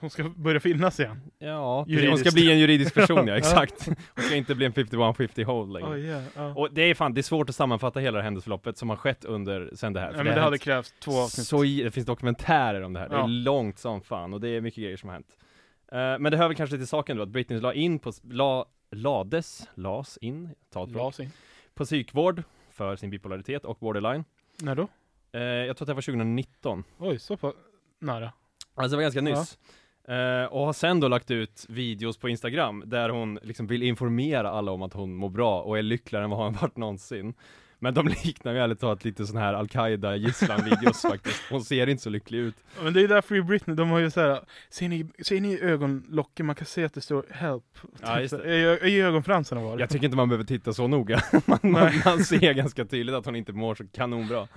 B: Hon ska börja finnas igen.
A: Ja, precis. hon
B: Juridiskt.
A: ska bli en juridisk
B: [LAUGHS]
A: person ja,
B: Ja.
A: exakt Hon ska inte bli en 51-50 hold längre
B: Oh, yeah, ja.
A: Och det är fan, det är svårt att sammanfatta hela det här händelseförloppet som har skett under, sen det här.
B: ja,
A: För
B: men
A: har
B: det hade
A: hänt
B: krävts två avsnitt.
A: Så, i- det finns dokumentärer om det här, det
B: Ja.
A: är långt som fan och det är mycket grejer som har hänt. Eh, men det hör väl kanske till saken då att Britney la in på, s- la, lades, las in, ta ett bra,
B: Las in.
A: på psykvård för sin bipolaritet och borderline.
B: När då?
A: Eh, jag tror att det var 2019,
B: Oj, så pass nära.
A: alltså det var ganska
B: Ja.
A: nyss. Eh, och har sen då lagt ut videos på Instagram där hon liksom vill informera alla om att hon mår bra och är lyckligare än vad hon varit någonsin. Men de [LAUGHS] liknar ju ärligt talat lite sån här [LAUGHS] Al-Qaida-gisslan-videos faktiskt. Hon ser inte så lycklig ut.
B: Ja, Men det är där Free Britney, de har ju såhär, ser ni, ser ni i ögonlocken, man kan se att det står 'Help'
A: Ja, just det.
B: I, ö- I ögonfransarna var det.
A: Jag tycker inte man behöver titta så noga. [LAUGHS] Man, man, man ser ganska tydligt att hon inte mår så kanonbra.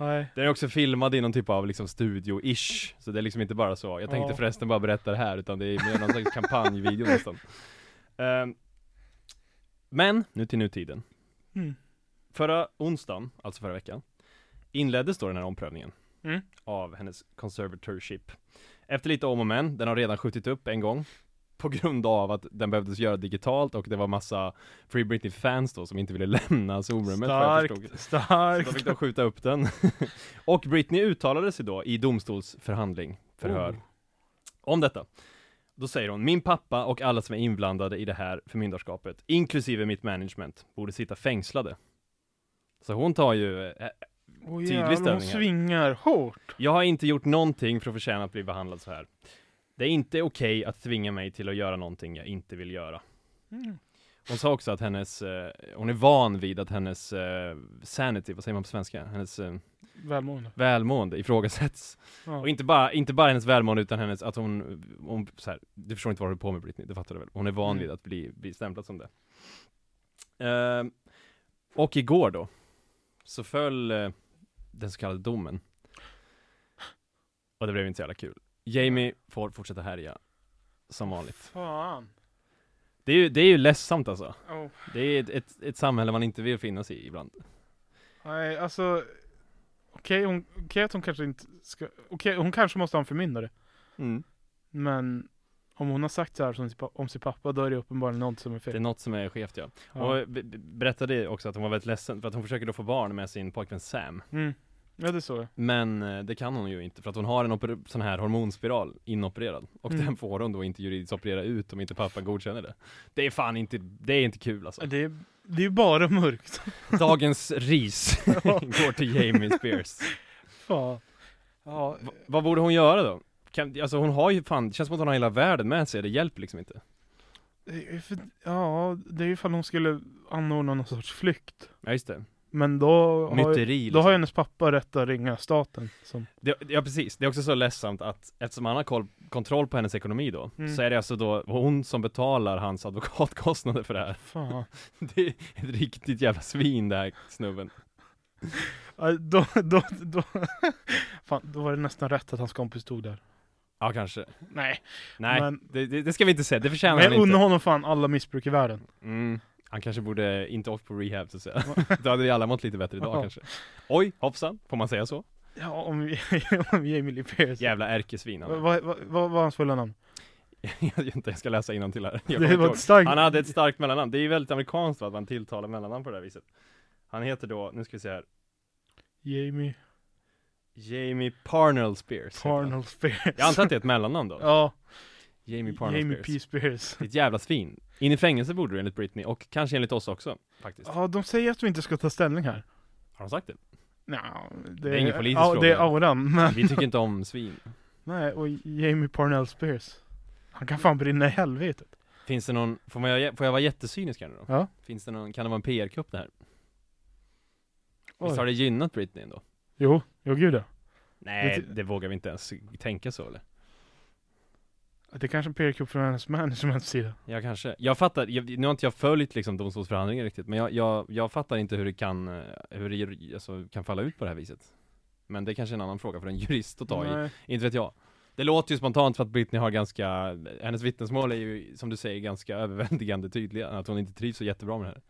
B: Nej.
A: Den är också filmad i någon typ av liksom studio-ish, så det är liksom inte bara så. Jag tänkte
B: Ja.
A: förresten bara berätta det här, utan det är mer någon slags kampanjvideo nästan. Ehm, men, nu till nutiden.
B: Mm.
A: Förra onsdagen, alltså förra veckan, inleddes då den här omprövningen
B: Mm.
A: av hennes conservatorship. Efter lite om och men, den har redan skjutit upp en gång på grund av att den behövdes göra digitalt och det var massa Free Britney-fans då som inte ville [LAUGHS] lämna zoomrummet vad jag förstod.
B: Starkt,
A: Så då
B: starkt.
A: fick de skjuta upp den. [LAUGHS] och
B: Oh.
A: Britney uttalade sig då i domstolsförhandling, förhör, om detta. Då säger hon, min pappa och alla som är inblandade i det här förmyndarskapet, inklusive mitt management, borde sitta fängslade. Så hon tar ju, eh,
B: Oh,
A: Tydlig
B: hon
A: ställning här.
B: svingar hårt.
A: jag har inte gjort någonting för att förtjäna att bli behandlad så här. Det är inte okej att tvinga mig till att göra någonting jag inte vill göra.
B: Mm.
A: Hon sa också att hennes, eh, hon är van vid att hennes eh, sanity, vad säger man på svenska? Hennes eh,
B: Välmående.
A: välmående ifrågasätts.
B: Ja.
A: Och inte bara, inte bara hennes välmående utan hennes, att hon, hon så här, du förstår inte vad du håller på med Britney, det fattar du väl? Hon är van
B: Mm.
A: vid att bli, bli stämplad som det. Ehm, och igår då, så föll eh, den så kallade domen. Och det blev inte så jävla kul. Jamie får fortsätta härja, som vanligt.
B: Fan.
A: Det är ju, det är ju ledsamt alltså.
B: Oh.
A: Det är ett, ett, ett samhälle man inte vill finnas i ibland.
B: Nej, alltså. Okej, hon, okej att hon kanske inte ska. Okej, hon kanske måste ha en förmyndare. Mm. Men om hon har sagt så här som sin pa- om sin pappa, då är det uppenbarligen något som är
A: Det är
B: fel.
A: något som är skevt ja.
B: Ja,
A: Hon be- be- berättade också att hon var väldigt ledsen för att hon försöker då få barn med sin pojkvän Sam.
B: mm. ja det är så.
A: Men eh, det kan hon ju inte för att hon har en oper- sån här hormonspiral inopererad och
B: Mm.
A: den får hon då inte juridiskt operera ut om inte pappa godkänner det. Det är fan inte, det är inte kul
B: [LAUGHS]
A: alltså.
B: Det är, det är ju bara mörkt. [LAUGHS]
A: Dagens [LAUGHS] ris
B: Ja.
A: går till Jamie Spears.
B: Fan. Ja,
A: Va- vad borde hon göra då? Kan, alltså hon har ju fan, det känns som att hon har hela världen med sig, det hjälper liksom inte.
B: det är för- ja, det är ju ifall hon skulle anordna någon sorts flykt.
A: Ja just det,
B: Men då har, ju-
A: myteri
B: då
A: liksom.
B: har ju hennes pappa rätt att ringa staten. Som,
A: Det, ja precis, det är också så ledsamt att eftersom han har koll, kontroll på hennes ekonomi då,
B: Mm.
A: så är det alltså då hon som betalar hans advokatkostnader för det här. [LAUGHS]
B: fan.
A: Det är ett riktigt jävla svin det här snubben.
B: Ja, Då, då, då, [LAUGHS] fan, då var det nästan rätt att hans kompis stod där.
A: Ja kanske.
B: Nej,
A: Nej,
B: Men-
A: det, det, det ska vi inte säga, det förtjänar
B: men jag
A: han inte.
B: unnar honom fan alla missbruk i världen.
A: Mm. Han kanske borde inte åkt på rehab så att säga. [LAUGHS] Då hade vi alla mått lite bättre idag kanske. Oj, hoppsan, får man säga så?
B: Ja, om, vi- [LAUGHS] om Jamie Lee Pierce.
A: Jävla ärkesvin
B: Vad
A: han.
B: vad- vad- vad var hans fulla namn?
A: [LAUGHS] Jag vet inte, jag ska läsa innantill här. Jag kommer
B: Det
A: inte
B: var
A: ihåg.
B: ett starkt...
A: Han hade ett starkt mellannamn, det är ju väldigt amerikanskt va, att man tilltalar mellannamn på det här viset. Han heter då, nu ska vi se här,
B: Jamie
A: Jamie Parnell Spears. heter han.
B: Parnell Spears.
A: Jag antar att det är ett mellannamn då.
B: Ja,
A: Jamie Parnell
B: Jamie P.
A: Spears.
B: Spears.
A: Ditt jävla svin. In i fängelse borde du enligt Britney, och kanske enligt oss också, faktiskt.
B: Ja, de säger att vi inte ska ta ställning här.
A: Har de sagt det?
B: Nja,
A: Det är ingen politisk
B: ja, det är
A: fråga.
B: auran, men
A: Vi tycker inte om svin.
B: nej, och Jamie Parnell Spears. Han kan fan brinna i helvetet.
A: Finns det någon, får, man, göra- får jag vara jättesynisk här nu då?
B: Ja.
A: Finns det någon, kan det vara en PR-kupp det här?
B: Oj.
A: Visst har det gynnat Britney ändå?
B: Jo, jo gud ja.
A: Nej,
B: Det-
A: det, vågar vi inte ens tänka så eller?
B: Det är kanske en PR-kupp från hennes managements sida.
A: Jag kanske, jag fattar, jag, nu har inte jag följt liksom domstolsförhandlingen riktigt, men jag, jag, jag fattar inte hur det kan, eh, hur det ju- alltså, kan falla ut på det här viset. Men det är kanske är en annan fråga för en jurist att ta i,
B: Nej.
A: inte vet jag. Det låter ju spontant för att Britney har ganska, hennes vittnesmål är ju som du säger ganska överväldigande tydliga, att hon inte trivs så jättebra med det här.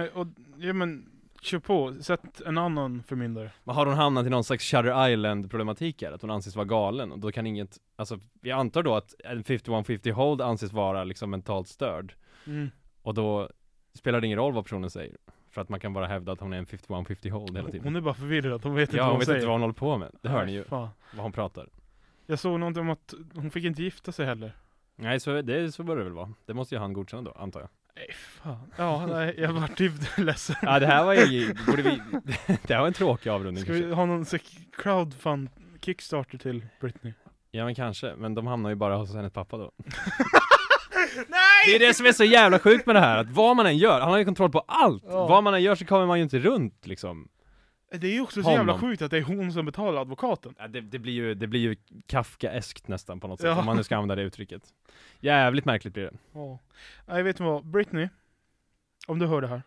B: Nej, och ja men, kör på. Sätt en annan förmyndare.
A: Men har hon hamnat i någon slags Shutter Island problematik här? Att hon anses vara galen och då kan inget, alltså jag antar då att en 5150 hold anses vara liksom mentalt störd
B: Mm.
A: och då spelar det ingen roll vad personen säger för att man kan bara hävda att hon är en 5150 hold hela tiden.
B: Hon är bara förvirrad, hon vet inte
A: Ja,
B: vad
A: hon
B: hon
A: vet
B: säger.
A: inte vad hon håller på med. Det hör ni
B: Nej,
A: ju,
B: Fan.
A: vad hon pratar.
B: Jag såg någonting om att hon fick inte gifta sig heller.
A: Nej, så, det, så bör det väl vara. Det måste ju han godkänna då, antar jag.
B: Nej, fan. Ja, nej, jag vart typ [LAUGHS] ledsen.
A: Ja, det här var
B: [LAUGHS]
A: ju, borde vi, [LAUGHS] det här var en tråkig avrundning
B: Ska
A: kanske.
B: vi ha någon sek- crowdfund kickstarter till Britney?
A: Ja men kanske, men de hamnar ju bara hos hennes pappa
B: [LAUGHS]
A: då Det är det som är så jävla sjukt med det här, att vad man än gör, han har ju kontroll på allt!
B: Ja.
A: Vad man än gör så kommer man ju inte runt liksom
B: Det är ju också så
A: Honom.
B: jävla sjukt att det är hon som betalar advokaten.
A: ja, det, det blir ju, det blir ju Kafkaeskt nästan på något sätt,
B: Ja.
A: om man nu ska använda det uttrycket Jävligt märkligt blir det,
B: Ja. Nej, vet du vad? Britney, om du hör det här.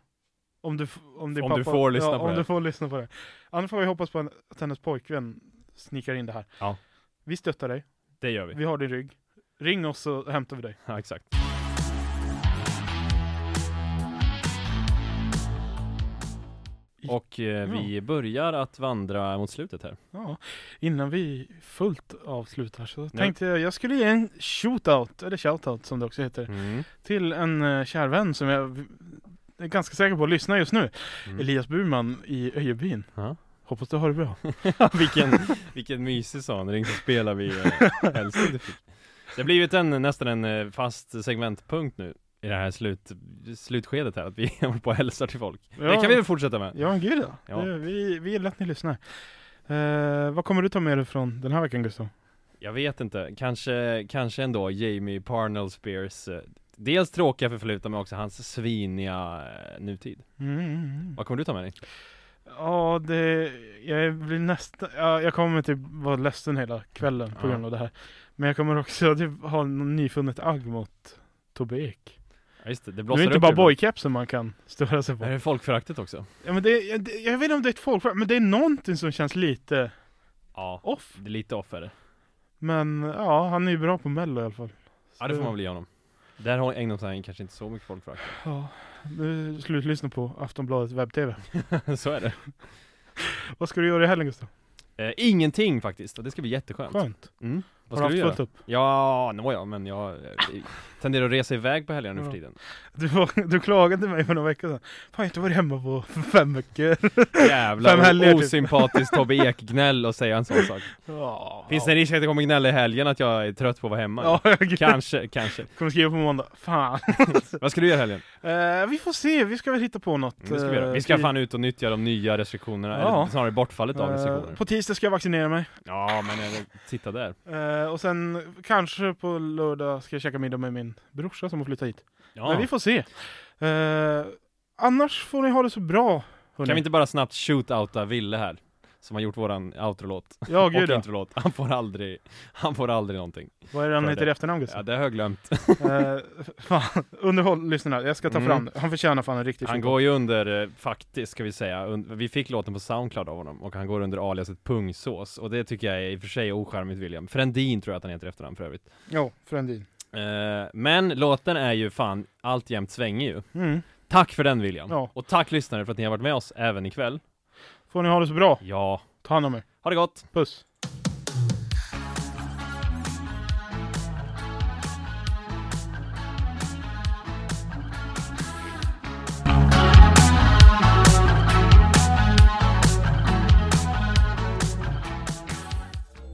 B: Om du, f- om din
A: Om
B: pappa,
A: du får lyssna
B: ja,
A: på
B: om
A: det.
B: du får lyssna på det. Annars får vi hoppas på en, att hennes pojkvän snickar in det här.
A: Ja.
B: Vi stöttar dig.
A: det gör vi,
B: Vi har din rygg. Ring oss så hämtar vi dig.
A: ja exakt Och eh, vi börjar att vandra mot slutet här
B: Ja. Innan vi fullt avslutar så tänkte jag jag skulle ge en shootout, eller shoutout som det också heter,
A: mm.
B: till en eh, kär vän som jag v- är ganska säker på lyssnar just nu.
A: Mm.
B: Elias Burman i Öjebyn.
A: Ja.
B: Hoppas du har det bra.
A: vilken, vilken mysig sån, ring så spelar vi eh, hälsning du fick Det har blivit en, nästan en eh, fast segmentpunkt nu i det här slut, slutskedet här, att vi [LAUGHS] håller på och hälsar till folk.
B: Ja,
A: [LAUGHS] Det kan vi väl fortsätta med?
B: ja gud ja.
A: Ja.
B: Det, vi, vi gillar att ni lyssnar. Eh, vad kommer du ta med dig från den här veckan Gustav?
A: Jag vet inte, kanske, kanske ändå Jamie Parnell-Spears eh, Dels tråkiga förflutna men också hans sviniga eh, nutid.
B: Mm, mm, mm.
A: Vad kommer du ta med dig?
B: Ja, det, jag blir nästan, ja, jag kommer typ vara ledsen hela kvällen på
A: Ja.
B: grund av det här. Men jag kommer också typ ha någon nyfunnet agg mot Tobbe Ek.
A: Ja, just det, det
B: Det är
A: blossar
B: inte
A: upp
B: bara
A: det ibland.
B: bojkepsen man kan störa sig på.
A: Det här är folkföraktet också.
B: Ja, men det, jag, det- jag vet inte om det är ett folkskämt, men det är någonting som känns lite
A: Ja,
B: off.
A: det är lite off är det.
B: Men ja, han är ju bra på mello i alla fall.
A: Ja det får man väl ge honom. Där har- ägnar sig kanske inte så mycket folkförakt. [LAUGHS]
B: Ja, nu slutlyssna på Aftonbladet webb-tv.
A: så är det.
B: Vad ska du göra i helgen Gustav?
A: Eh, ingenting faktiskt, och det ska bli jätteskönt.
B: Skönt.
A: Mm. Vad
B: Har
A: ska
B: du
A: du
B: haft
A: göra?
B: fullt upp?
A: Ja, nåja, men jag eh, tenderar att resa iväg på helgerna nu för
B: Ja.
A: tiden.
B: Du, var, du klagade till mig för några veckor sedan. Fan, jag har inte varit hemma på fem veckor. Fem helger,
A: Jävla
B: typ.
A: osympatiskt Tobbe Ek-gnäll och säga en sån sak.
B: [LAUGHS] Ja.
A: Finns det en risk att jag kommer gnälla i helgen att jag är trött på att vara hemma?
B: Ja, jag
A: Kanske, kanske.
B: kommer skriva på måndag. Fan.
A: Vad ska du göra i helgen?
B: Eh, vi får se, vi ska väl hitta på något. eh,
A: Det ska vi, göra. vi ska fan ut och nyttja de nya restriktionerna,
B: Ja.
A: eller snarare bortfallet av
B: Uh,
A: restriktioner.
B: på tisdag ska jag vaccinera mig.
A: Ja, men eh, titta där.
B: Eh, och sen kanske på lördag ska jag käka middag med min brorsa som har flyttat hit.
A: Ja.
B: Men vi får se. Eh, annars får ni ha det så bra. hörni.
A: Kan vi inte bara snabbt shootouta Ville här? Som har gjort våran outrolåt
B: Ja,
A: och
B: gud ja.
A: introlåt. Han får aldrig, han får aldrig någonting.
B: Vad är det han
A: För
B: heter i
A: det.
B: efternamn
A: Ja,
B: Gustav?
A: det har jag glömt.
B: Eh, fan, underhåll lyssnarna. Jag ska ta
A: Mm.
B: fram det. Han förtjänar fan en riktig
A: Han
B: shoot.
A: går ju under, eh, faktiskt ska vi säga, und- vi fick låten på Soundcloud av honom och han går under aliaset Pungsås och det tycker jag är i och för sig ocharmigt William. Frendin tror jag att han heter i efternamn för övrigt.
B: Ja, Fröndin.
A: Eh, men låten är ju fan alltjämt svängig ju.
B: Mm.
A: Tack för den William!
B: Ja.
A: Och tack lyssnare för att ni har varit med oss även ikväll.
B: Får ni ha det så bra.
A: Ja,
B: Ta hand om er.
A: ha det gott!
B: Puss.